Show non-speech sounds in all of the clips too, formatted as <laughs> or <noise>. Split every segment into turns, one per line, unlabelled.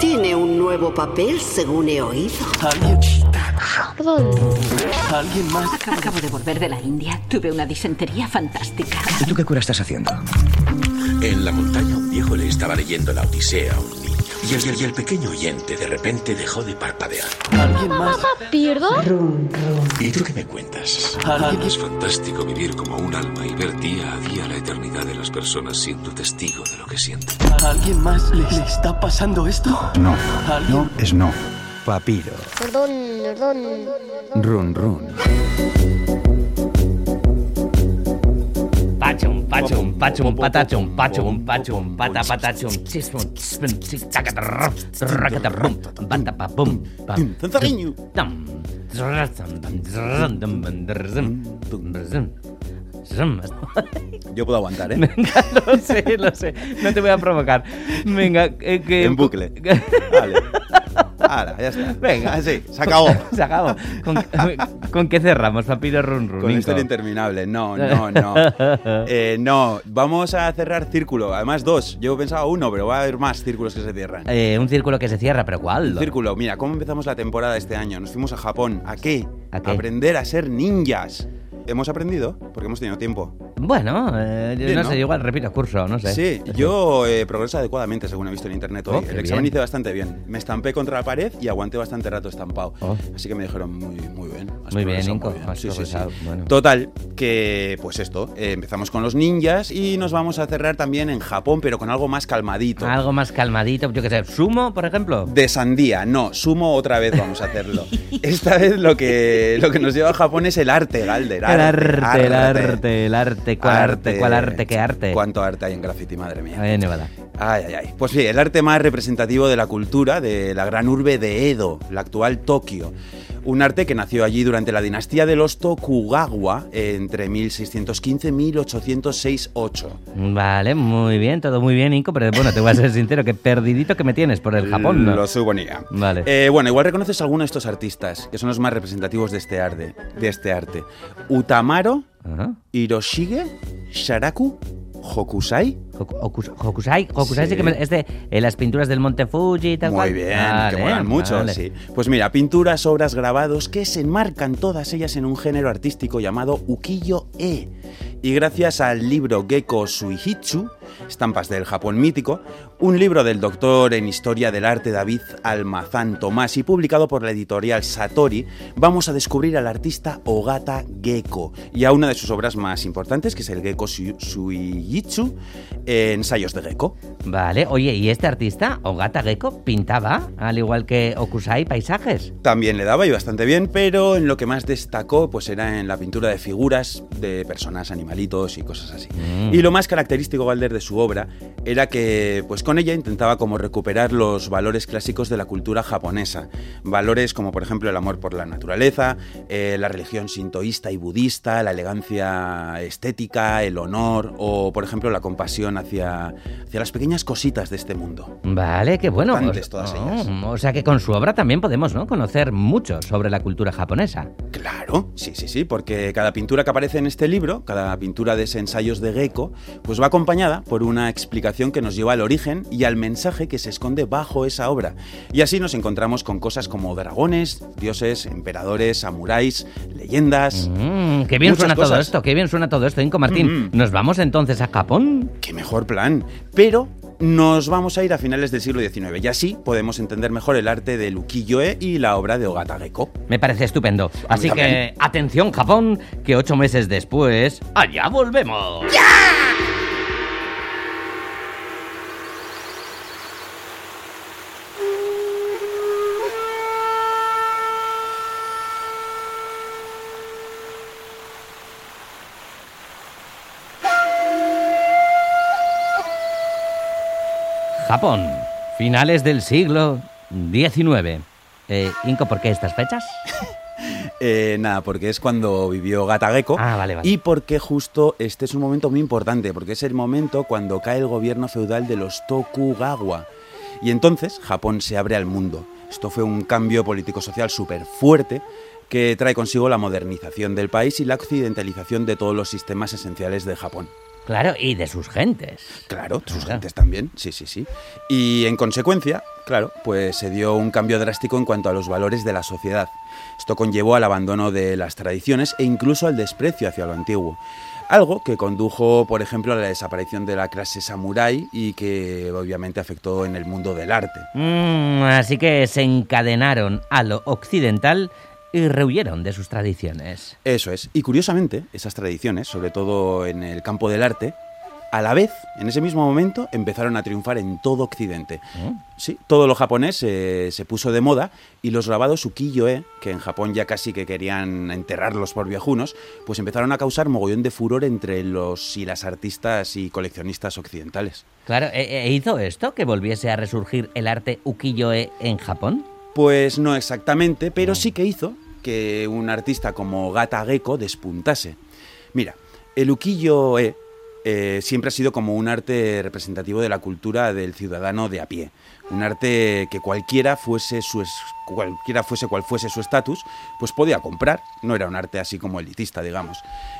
tiene un nuevo papel, según he oído.
Alguien.
Rodolfo.
Alguien más.
Acabo, acabo de volver de la India. Tuve una disentería fantástica.
¿Y tú qué cura estás haciendo?
En la montaña un viejo le estaba leyendo la Odisea a un niño. Y el, y el pequeño oyente de repente dejó de parpadear.
Alguien más.
¿Papá, pierdo?
¿Y tú qué me cuentas?
Es fantástico vivir como un alma y ver día a día la eternidad de las personas siendo testigo de lo que sienten.
¿Alguien más le, le está pasando esto?
No.
¿Alguien?
No es no. Papiro.
Perdón, perdón.
Run, run.
Pachum, pachum, pachum, patachum, pachum, pachum, pata, patachum, chispum, chispum, chis, tacatarra, tracatarbum, patapapum, pam,
Zanzariño.
tam, zrrazam, tam, zrrazam, tam, tam, zrrazam, tum, zrrazam, zrrazam. <laughs>
Yo puedo aguantar, ¿eh?
Lo sé, lo sé. No te voy a provocar. Venga, eh, que...
En bucle.
<laughs>
Vale. Ahora, ya está.
Venga.
Así, se
<laughs>
acabó.
Se acabó. ¿Con, con qué cerramos, papiro run run?
Con la historia interminable. No, no,
<laughs>
no. Eh, no, vamos a cerrar círculo. Además, dos. Yo pensaba uno, pero va a haber más círculos que se cierran.
Eh, un círculo que se cierra, pero ¿cuál?
Círculo, mira, ¿cómo empezamos la temporada este año? Nos fuimos a Japón. ¿A qué?
¿A qué?
Aprender a ser ninjas. Hemos aprendido porque hemos tenido tiempo.
Bueno, eh, yo
Bien,
no,
¿no?
sé, igual repito curso, no sé.
Sí, yo eh, progresé adecuadamente según he visto en internet hoy.
Oh, qué
El examen
bien.
hice bastante bien. Me estampé contra la pared y aguanté bastante rato estampado.
Oh.
Así que me dijeron muy, muy bien. Has
Muy bien,
progresado
Inco, has
Sí, sí, sí.
progresado, bueno.
Total, que pues esto, eh, empezamos con los ninjas y nos vamos a cerrar también en Japón, pero con algo más calmadito.
Algo más calmadito, yo qué sé, sumo, por ejemplo.
De sandía, no, sumo otra vez vamos a
<laughs>
hacerlo. Esta vez lo que, lo que nos lleva a Japón es el arte, Galder.
El arte, el arte, el arte, cuál arte, cuál arte, qué arte.
¿Cuánto arte hay en graffiti, madre mía?
Ahí en Nevada.
Ay, ay, ay. Pues sí, el arte más representativo de la cultura de la gran urbe de Edo, la actual Tokio. Un arte que nació allí durante la dinastía de los Tokugawa entre 1615 y 1868.
Vale, muy bien, todo muy bien, Inco, pero bueno, te voy a ser sincero, que perdidito que me tienes por el Japón, ¿no?
Lo suponía.
Vale.
Eh, bueno, igual reconoces a alguno de estos artistas, que son los más representativos de este arte. De este arte. Utamaro,
Ajá.
Hiroshige, Sharaku, Hokusai.
Hoku- Hokus- Hokusai, Hokusai
Sí.
sí que me- es de eh, las pinturas del Monte Fuji y tal
Muy
cual.
bien,
Vale,
que molan mucho,
vale.
sí. Pues mira, pinturas, obras, grabados que se enmarcan todas ellas en un género artístico llamado ukiyo-e. Y gracias al libro Geko Suihitsu, Estampas del Japón Mítico, un libro del doctor en Historia del Arte David Almazán Tomás y publicado por la editorial Satori, vamos a descubrir al artista Ogata Gecko y a una de sus obras más importantes, que es el Geko Sui- Suihitsu, eh, Ensayos de Gecko.
Vale, oye, ¿y este artista, Ogata Gecko, pintaba, al igual que Hokusai, paisajes?
También le daba y bastante bien, pero en lo que más destacó pues era en la pintura de figuras de personas, animalitos y cosas así. Y lo más característico Valder de su obra era que pues con ella intentaba como recuperar los valores clásicos de la cultura japonesa, valores como por ejemplo el amor por la naturaleza, eh, la religión sintoísta y budista, la elegancia estética, el honor o por ejemplo la compasión hacia hacia las pequeñas cositas de este mundo.
Vale, qué bueno.
Importantes todas ellas.
Oh, o sea que con su obra también podemos ¿no? conocer mucho sobre la cultura japonesa.
Claro, sí, sí, sí, porque cada pintura que aparece en este libro, cada pintura de ese ensayos de Gecko, pues va acompañada por una explicación que nos lleva al origen y al mensaje que se esconde bajo esa obra. Y así nos encontramos con cosas como dragones, dioses, emperadores, samuráis, leyendas.
Mm, qué bien
Muchas
suena todo
cosas. Mm,
esto, qué bien suena todo esto, Inco Martín. ¿Nos vamos entonces a Japón?
¡Qué mejor plan! Pero nos vamos a ir a finales del siglo XIX y así podemos entender mejor el arte de Ukiyo-e y la obra de Ogata Gecko.
Me parece estupendo. Así que,
también.
atención Japón, que ocho meses después, allá volvemos. Japón, finales del siglo XIX. Eh, Inco, ¿por qué estas fechas?
Eh, nada, porque es cuando vivió Gata Gecko.
Ah, vale, vale.
Y porque justo este es un momento muy importante, porque es el momento cuando cae el gobierno feudal de los Tokugawa. Y entonces Japón se abre al mundo. Esto fue un cambio político-social súper fuerte que trae consigo la modernización del país y la occidentalización de todos los sistemas esenciales de Japón.
Claro, y de sus gentes.
Claro, sus
Claro.
gentes también, sí, sí, sí. Y en consecuencia, claro, pues se dio un cambio drástico en cuanto a los valores de la sociedad. Esto conllevó al abandono de las tradiciones e incluso al desprecio hacia lo antiguo. Algo que condujo, por ejemplo, a la desaparición de la clase samurái y que obviamente afectó en el mundo del arte.
Mm, así que se encadenaron a lo occidental y rehuyeron de sus tradiciones.
Eso es. Y curiosamente, esas tradiciones, sobre todo en el campo del arte, a la vez, en ese mismo momento, empezaron a triunfar en todo Occidente.
Oh. ¿Eh?
Sí, todo lo japonés eh, se puso de moda y los grabados ukiyo-e, que en Japón ya casi que querían enterrarlos por viejunos, pues empezaron a causar mogollón de furor entre los y las artistas y coleccionistas occidentales.
Claro, ¿e- e- ¿hizo esto que volviese a resurgir el arte ukiyo-e en Japón?
Pues no exactamente, pero sí que hizo que un artista como Gata Gecko despuntase. Mira, el ukiyo-e eh, siempre ha sido como un arte representativo de la cultura del ciudadano de a pie. Un arte que cualquiera fuese, su es- cualquiera fuese cual fuese su estatus, pues podía comprar. No era un arte así como elitista, digamos.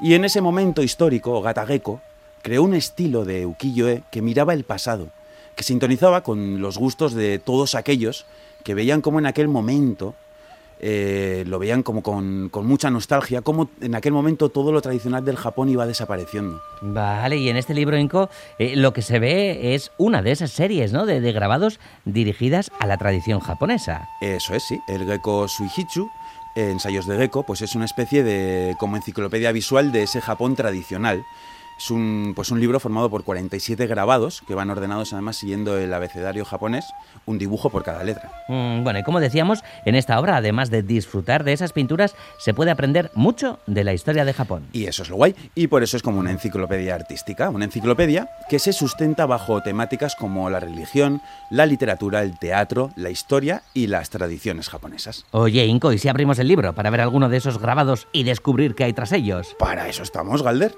Y en ese momento histórico, Gata Gecko creó un estilo de ukiyo-e que miraba el pasado, que sintonizaba con los gustos de todos aquellos que veían como en aquel momento, eh, lo veían como con, con mucha nostalgia, como en aquel momento todo lo tradicional del Japón iba desapareciendo.
Vale, y en este libro Inco eh, lo que se ve es una de esas series, ¿no? De, de grabados dirigidas a la tradición japonesa.
Eso es, sí, el Gecko Suihitsu, eh, Ensayos de Gecko, pues es una especie de como enciclopedia visual de ese Japón tradicional. Es un, pues un libro formado por 47 grabados que van ordenados además siguiendo el abecedario japonés, un dibujo por cada letra.
Mm, bueno, y como decíamos, en esta obra, además de disfrutar de esas pinturas, se puede aprender mucho de la historia de Japón.
Y eso es lo guay. Y por eso es como una enciclopedia artística, una enciclopedia que se sustenta bajo temáticas como la religión, la literatura, el teatro, la historia y las tradiciones japonesas.
Oye, Inco, ¿y si abrimos el libro para ver alguno de esos grabados y descubrir qué hay tras ellos?
Para eso estamos, Galder.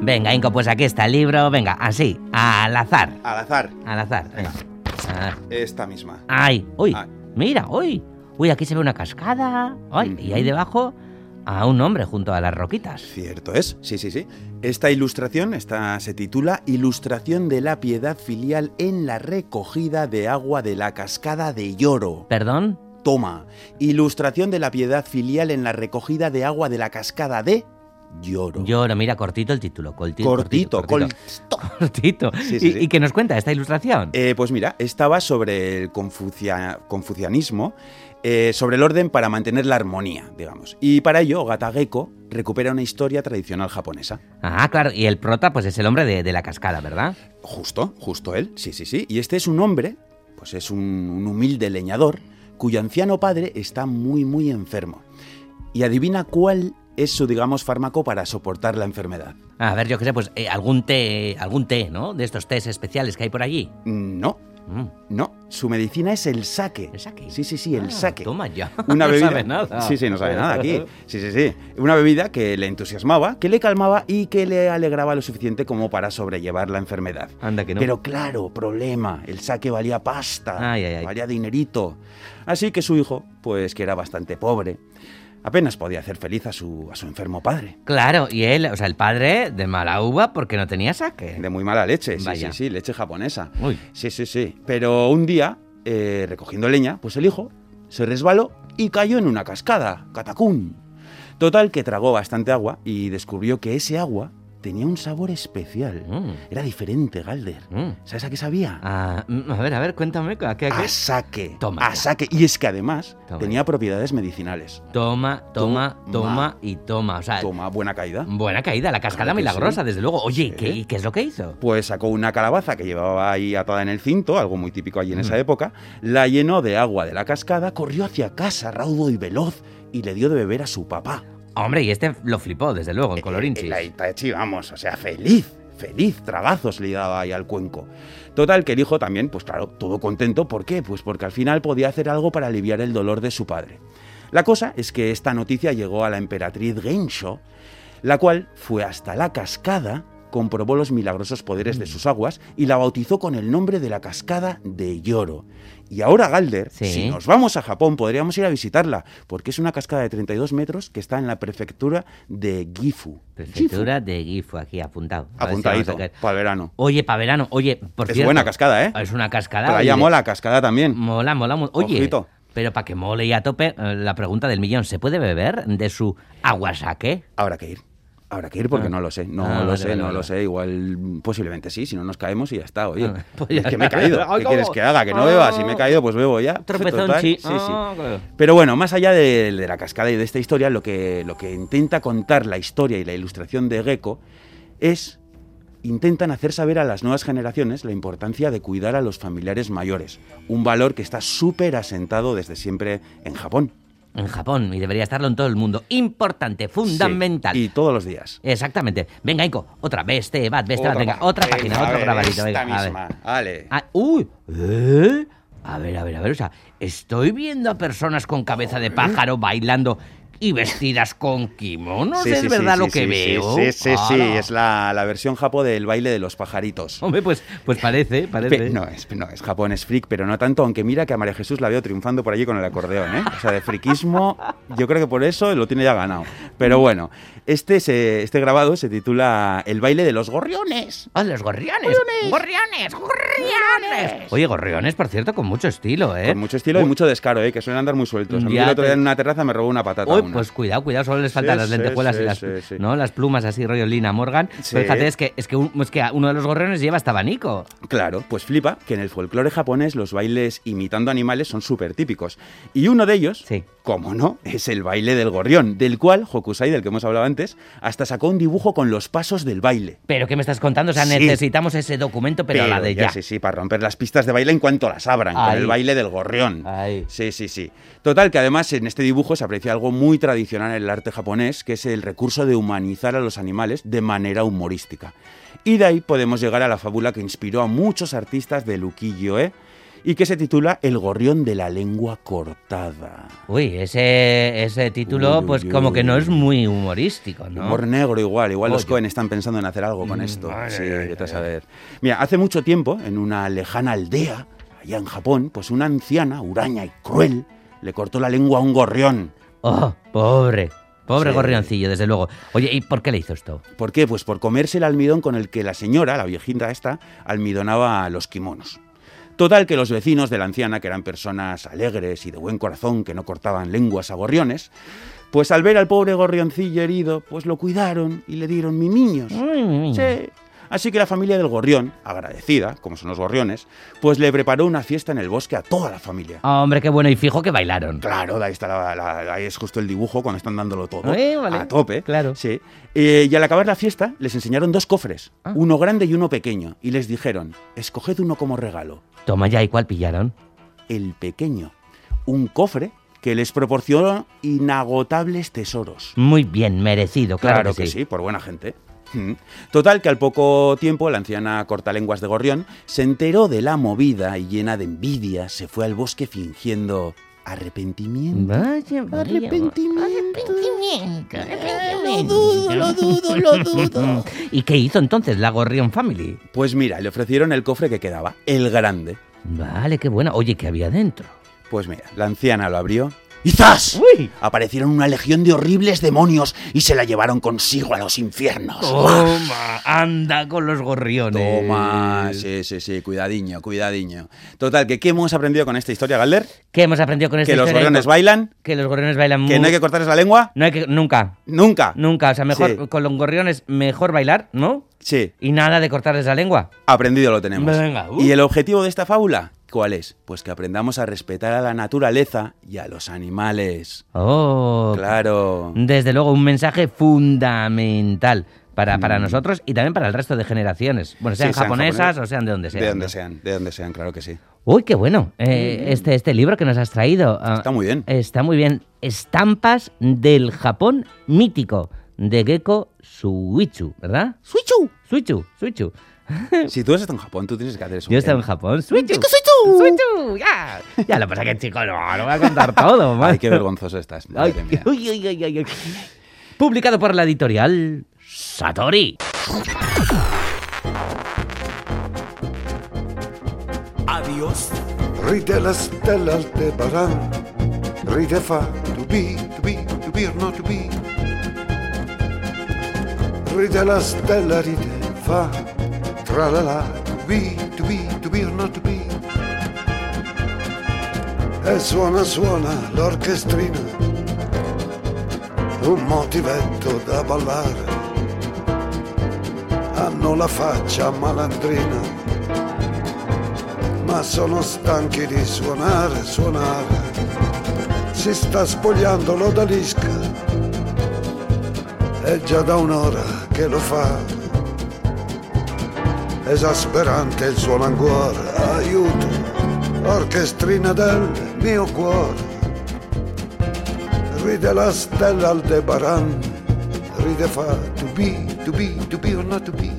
Venga, Inco, pues aquí está el libro. Venga, así, al azar.
Al azar,
Al azar, venga. Ah,
esta misma.
¡Ay! ¡Uy!
Ay.
¡Mira! ¡Uy! ¡Uy! Aquí se ve una cascada. ¡Ay! Y ahí debajo a un hombre junto a las roquitas.
Cierto es, sí, sí, sí. Esta ilustración esta se titula Ilustración de la piedad filial en la recogida de agua de la cascada de Lloro.
¿Perdón?
Toma, ilustración de la piedad filial en la recogida de agua de la cascada de Lloro.
Lloro, mira, cortito el título. Cortito,
Cortito,
cortito.
col-
<laughs> cortito.
Sí, sí,
¿Y,
sí.
y qué nos cuenta esta ilustración?
Eh, pues mira, estaba sobre el confucia- confucianismo, eh, sobre el orden para mantener la armonía, digamos. Y para ello, Gata Gecko recupera una historia tradicional japonesa.
Ah, claro, y el prota, pues es el hombre de, de la cascada, ¿verdad?
Justo, justo él, sí, sí, sí. Y este es un hombre, pues es un, un humilde leñador, cuyo anciano padre está muy, muy enfermo. Y adivina cuál es su, digamos, fármaco para soportar la enfermedad.
A ver, yo qué sé, pues eh, algún té, algún té, ¿no? De estos tés especiales que hay por allí.
No,
Mm.
no, su medicina es el saque.
¿El sake?
Sí, sí, sí, el
Ah,
saque.
Toma ya.
<laughs> Una bebida.
<laughs> No sabe nada.
Sí, sí, no sabe nada aquí. Sí, sí, sí. Una bebida que le entusiasmaba, que le calmaba y que le alegraba lo suficiente como para sobrellevar la enfermedad.
<laughs> Anda Ah, que no.
Pero claro, problema, el saque valía pasta,
Ay, ay, ay.
valía dinerito. Así que su hijo, pues que era bastante pobre, apenas podía hacer feliz a su, a su enfermo padre.
Claro, y él, o sea, el padre de mala uva porque no tenía saque.
De muy mala leche, sí,
Vaya.
sí, sí, leche japonesa.
Uy.
Sí, sí, sí. Pero un día, eh, recogiendo leña, pues el hijo se resbaló y cayó en una cascada, catacún. Total que tragó bastante agua y descubrió que ese agua tenía un sabor especial.
Mm.
Era diferente, Galder.
Mm.
¿Sabes a qué sabía?
Ah, mm, a ver, a ver, cuéntame. ¿a qué- a qué?
A saque.
Toma
A
ya.
saque. Y es que además
Toma
tenía propiedades medicinales.
Toma, toma,
Toma.
toma y toma. O sea,
Toma, buena caída.
buena caída, la cascada
Claro que
milagrosa,
sí.
desde luego. Oye, ¿y
Sí.
¿qué, y qué es lo que hizo?
Pues sacó una calabaza que llevaba ahí atada en el cinto, algo muy típico allí en esa época, la llenó de agua de la cascada, corrió hacia casa, raudo y veloz, y le dio de beber a su papá.
Hombre, y este lo flipó, desde luego, en
Eh,
colorinchis.
eh, La Itachi, vamos, o sea, feliz, feliz, tragazos le daba ahí al cuenco. Total, que el hijo también, pues claro, todo contento. ¿Por qué? Pues porque al final podía hacer algo para aliviar el dolor de su padre. La cosa es que esta noticia llegó a la emperatriz Gensho, la cual fue hasta la cascada, comprobó los milagrosos poderes de sus aguas y la bautizó con el nombre de la cascada de Lloro. Y ahora, Galder,
Sí.
si nos Pues vamos a Japón, podríamos ir a visitarla, porque es una cascada de 32 metros que está en la prefectura de Gifu.
Prefectura de Gifu, aquí apuntado. A ver si
Apuntadito,
vamos a caer.
para verano.
Oye, para verano, oye, por
Es
cierto,
buena cascada, ¿eh?
Es una cascada. Mm.
Playa
oye,
mola, cascada también.
Mola, mola, mola. Oye,
Ojito.
pero para que mole y a tope, eh, la pregunta del millón, ¿se puede beber de su aguasaque?
Habrá que ir. Habrá que ir porque no lo sé, no
Ah,
lo
vale,
sé,
vale,
no
vale.
lo sé. Igual, mm, posiblemente sí, si no nos caemos y ya está, oye.
Ah, pues ya
es que me he
está.
caído.
Ay,
¿Qué quieres
¿cómo?
que haga? Que no beba. Si me he caído, pues bebo ya.
Tropezón,
Total,
sí.
Sí,
Ah, claro.
Pero bueno, más allá de, de la cascada y de esta historia, lo que, lo que intenta contar la historia y la ilustración de Gecko es intentan hacer saber a las nuevas generaciones la importancia de cuidar a los familiares mayores, un valor que está súper asentado desde siempre en Japón.
En Japón, y debería estarlo en todo el mundo. Importante, fundamental.
Sí, y todos los días.
Exactamente. Venga, Ico, otra vez, te vas, ves, te vas,
Otra
venga,
pa-
otra
venga,
página,
a
otro
ver,
grabarito,
esta
venga, a ver.
misma. Vale.
Ah, ¡Uy! ¿eh? A ver, a ver, a ver, o sea, estoy viendo a personas con cabeza de pájaro bailando y vestidas con kimonos, ¿es verdad lo
sí,
que
sí,
veo?
Sí, sí, sí,
Ala.
es la, la versión japo del baile de los pajaritos.
Hombre, pues, pues parece, parece.
Pe- no, es, no, es Japón, es freak, pero no tanto, aunque mira que a María Jesús la veo triunfando por allí con el acordeón, ¿eh? O sea, de friquismo, yo creo que por eso lo tiene ya ganado. Pero
Mm.
bueno, este, se- este grabado se titula El baile de los gorriones.
¡Ah, los gorriones! ¡Gorriones! ¡Gorriones! Oye, gorriones, por cierto, con mucho estilo, ¿eh?
Con mucho estilo y mucho descaro, ¿eh? Que suelen andar muy sueltos. A mí
Ya
el otro
te-
día en una terraza me robó una patata.
Uy,
una.
pues cuidado, cuidado, solo les faltan
Sí,
las
sí,
lentejuelas
sí,
y las,
sí, sí.
¿no? las plumas así rollo Lina Morgan.
Sí.
Pero fíjate, es que, es, que un- es que uno de los gorriones lleva hasta abanico.
Claro, pues flipa que en el folclore japonés los bailes imitando animales son súper típicos. Y uno de ellos,
Sí.
como no, es el baile del gorrión, del cual Hokusai, del que hemos hablado antes, hasta sacó un dibujo con los pasos del baile.
¿Pero qué me estás contando? O sea,
Sí.
necesitamos ese documento, pero, la de ya.
Sí, sí, para romper las pistas de baile en cuanto las abran, con
Ahí.
el baile del gorrión.
Ahí.
Sí, sí, sí. Total, que además en este dibujo se aprecia algo muy tradicional en el arte japonés, que es el recurso de humanizar a los animales de manera humorística. Y de ahí podemos llegar a la fábula que inspiró a muchos artistas de ukiyo-e y que se titula El gorrión de la lengua cortada.
Uy, ese, ese título,
Uy,
pues
uy,
como
uy,
que no
uy.
es muy humorístico, ¿no?
Humor negro igual, igual los
Oye. Mm,
Cohen están pensando en hacer algo con esto.
ay,
sí,
ay, ay,
vete a
ay.
saber. Mira, hace mucho tiempo, en una lejana aldea, allá en Japón, pues una anciana, huraña y cruel, le cortó la lengua a un gorrión.
Oh, pobre. Pobre
Sí.
gorrioncillo, desde luego. Oye, ¿y por qué le hizo esto?
¿Por qué? Pues por comerse el almidón con el que la señora, la viejita esta, almidonaba los kimonos. Total que los vecinos de la anciana, que eran personas alegres y de buen corazón, que no cortaban lenguas a gorriones, pues al ver al pobre gorrioncillo herido, pues lo cuidaron y le dieron mimiños.
Mm.
Sí. Así que la familia del gorrión, agradecida, como son los gorriones, pues le preparó una fiesta en el bosque a toda la familia.
Hombre, qué bueno y fijo que bailaron.
Claro, ahí, está la- la- ahí es justo el dibujo cuando están dándolo todo.
Eh, vale.
A tope.
Claro.
Sí. Eh, y al acabar la fiesta les enseñaron dos cofres,
Ah.
uno grande y uno pequeño, y les dijeron, escoged uno como regalo,
Toma ya, ¿y cuál pillaron?
el pequeño, un cofre que les proporcionó inagotables tesoros.
Muy bien, merecido, claro,
Claro, que, sí. por buena gente. Mm. Total, que al poco tiempo la anciana cortalenguas de Gorrión se enteró de la movida y llena de envidia se fue al bosque fingiendo arrepentimiento.
Vaya, vaya.
Arrepentimiento.
<laughs> ¿Y qué hizo entonces la Gorrión Family?
Pues mira, le ofrecieron el cofre que quedaba, el grande.
Vale, qué buena. Oye, ¿qué había dentro?
Pues mira, la anciana lo abrió. ¡Y ¡zas!
¡Uy!
Aparecieron una legión de horribles demonios y se la llevaron consigo a los infiernos.
Oh, Toma, anda con los gorriones.
Toma, sí, sí, sí, cuidadiño, cuidadiño. Total, que ¿qué hemos aprendido con esta historia, Galder?
¿Qué hemos aprendido con esta
Que los
historia?
gorriones bailan,
Que los gorriones bailan
que no
muy-
hay que cortarles la lengua,
No hay que- Nunca,
nunca.
nunca. O sea, mejor
Sí.
con los gorriones, mejor bailar, ¿no?
Sí,
Y nada de cortarles la lengua.
aprendido lo tenemos.
Venga, uh.
¿Y el objetivo de esta fábula? ¿Cuál es? Pues que aprendamos a respetar a la naturaleza y a los animales.
Oh,
Claro.
desde luego un mensaje fundamental para, para nosotros y también para el resto de generaciones. Bueno, sean
Sí,
japonesas
japoneses.
o sean de donde sean.
De donde
¿no?
sean, de donde sean, claro que
<laughs>
sí.
Uy, qué bueno. Eh, este, este libro que nos has traído. ah,
Está muy bien.
Está muy bien. Estampas del Japón mítico de Gecko Suichu, ¿verdad?
¡Suichu!
Suichu, Suichu.
Si tú has estado en Japón, tú tienes que hacer eso.
Yo estaba en Japón. ¡Suichu!
¡Gecko Suichu!
¡Suichu! ¡Ya! Ya
<laughs>
lo pasa que, chico, no, lo voy a contar todo.
Ay,
madre.
qué vergonzoso estás.
<laughs> Ay,
madre mía.
uy, uy, uy, uy, uy. publicado por la editorial Satori.
Ride la stella al tebarán, ride fa, to be, to be, to be or not to be. Ride la stella, ride fa, tra la la, to be, to be, to be or not to be. E suona, suona l'orchestrina, un motivetto da ballare. Hanno la faccia malandrina ma sono stanchi di suonare, suonare. Si sta spogliando l'odalisca, è già da un'ora che lo fa. Esasperante il suo languore, aiuto, orchestrina del mio cuore. Ride la stella al debaran, ride fa to be, to be, to be or not to be.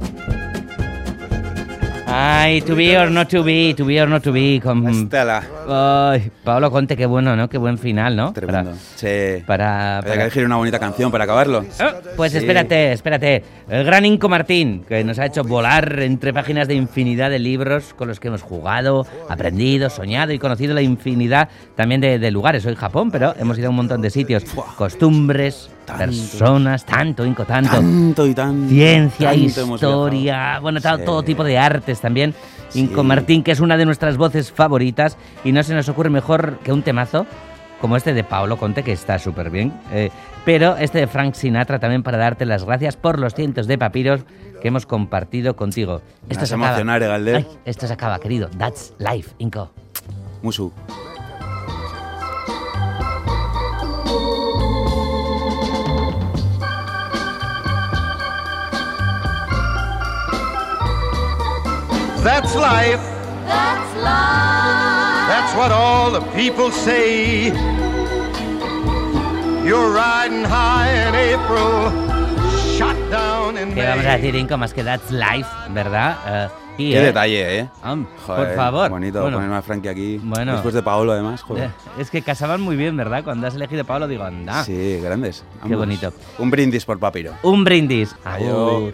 Ay, to be or not to be, to be or not to be. Con...
Estela.
Ay, Pablo Conte, qué bueno, ¿no? Qué buen final, ¿no?
Tremendo. Sí.
Para,
Había que
para-
elegir una bonita canción para acabarlo.
Ah, pues
Sí.
espérate, espérate. El gran Inco Martín, que nos ha hecho volar entre páginas de infinidad de libros con los que hemos jugado, aprendido, soñado y conocido la infinidad también de, de lugares. Hoy Japón, pero hemos ido a un montón de sitios. Costumbres, personas, tanto, Inco, tanto.
Tanto y tanto.
Ciencia,
tanto hemos
historia,
viajado.
bueno, tal-
Sí.
todo tipo de artes también.
Sí.
Inco Martín, que es una de nuestras voces favoritas y no se nos ocurre mejor que un temazo como este de Paolo Conte, que está súper bien. eh, pero este de Frank Sinatra también para darte las gracias por los cientos de papiros que hemos compartido contigo.
Me has emocionado, ¿eh, Galder.
Ay, esto se acaba, querido. That's life, Inco.
Musu.
That's life. That's what all the people say. You're riding high in April, shot down in
¿Qué
May.
vamos a decir, Inco? Más que That's life, ¿verdad? Eh, y,
Qué
eh,
detalle, ¿eh?
am,
Joder,
por favor.
Bonito
Bueno,
poner más Frankie aquí.
Bueno.
Después de Paolo, además.
Eh,
Joder.
Es que casaban muy bien, ¿verdad? Cuando has elegido Pablo digo, anda.
Sí, grandes.
Qué bonito.
Un brindis por papiro.
Un brindis.
Adiós.
Agur.